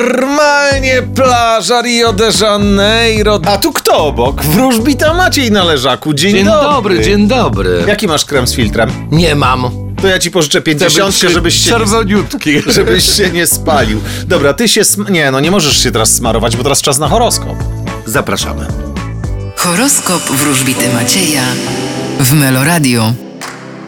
Normalnie plaża Rio de Janeiro. A tu kto obok? Wróżbita Maciej na leżaku. Dzień, Dzień dobry. dobry, dzień dobry. Jaki masz krem z filtrem? Nie mam. To ja ci pożyczę pięćdziesiątkę, żebyś się, Czerwoniutki. żebyś się nie spalił. Dobra, ty się... Sm- nie, no nie możesz się teraz smarować, bo teraz czas na horoskop. Zapraszamy. Horoskop wróżbity Macieja w Meloradio.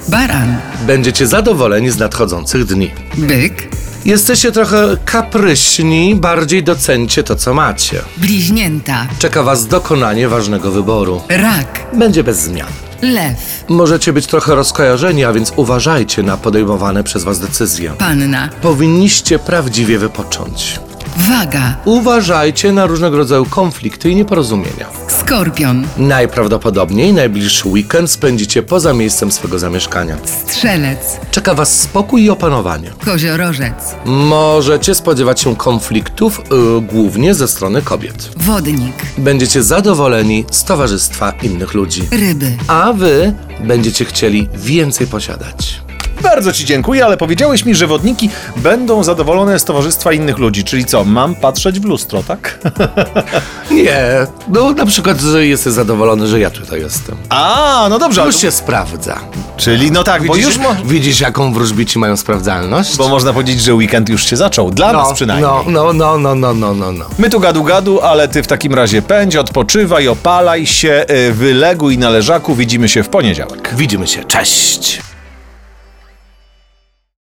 Baran, Będziecie zadowoleni z nadchodzących dni. byk, Jesteście trochę kapryśni, bardziej docencie to, co macie. bliźnięta, Czeka was dokonanie ważnego wyboru. rak, Będzie bez zmian. lew, Możecie być trochę rozkojarzeni, a więc uważajcie na podejmowane przez was decyzje. panna, Powinniście prawdziwie wypocząć. waga, Uważajcie na różnego rodzaju konflikty i nieporozumienia. skorpion, Najprawdopodobniej najbliższy weekend spędzicie poza miejscem swego zamieszkania. strzelec, Czeka Was spokój i opanowanie. koziorożec, Możecie spodziewać się konfliktów, y, głównie ze strony kobiet. wodnik, Będziecie zadowoleni z towarzystwa innych ludzi. ryby. A Wy będziecie chcieli więcej posiadać. Bardzo ci dziękuję, ale powiedziałeś mi, że wodniki będą zadowolone z towarzystwa innych ludzi. Czyli co, mam patrzeć w lustro, tak? Nie, no na przykład że jesteś zadowolony, że ja tutaj jestem. A, no dobrze. ale- Już się sprawdza. Czyli no tak, Widzisz, bo już... Mo- widzisz jaką wróżbici mają sprawdzalność? bo można powiedzieć, że weekend już się zaczął. Dla nas przynajmniej. no, no, no, no, no, no, no, no. My tu gadu gadu, ale ty w takim razie pędź, odpoczywaj, opalaj się, y, wyleguj na leżaku. Widzimy się w poniedziałek. Widzimy się, cześć!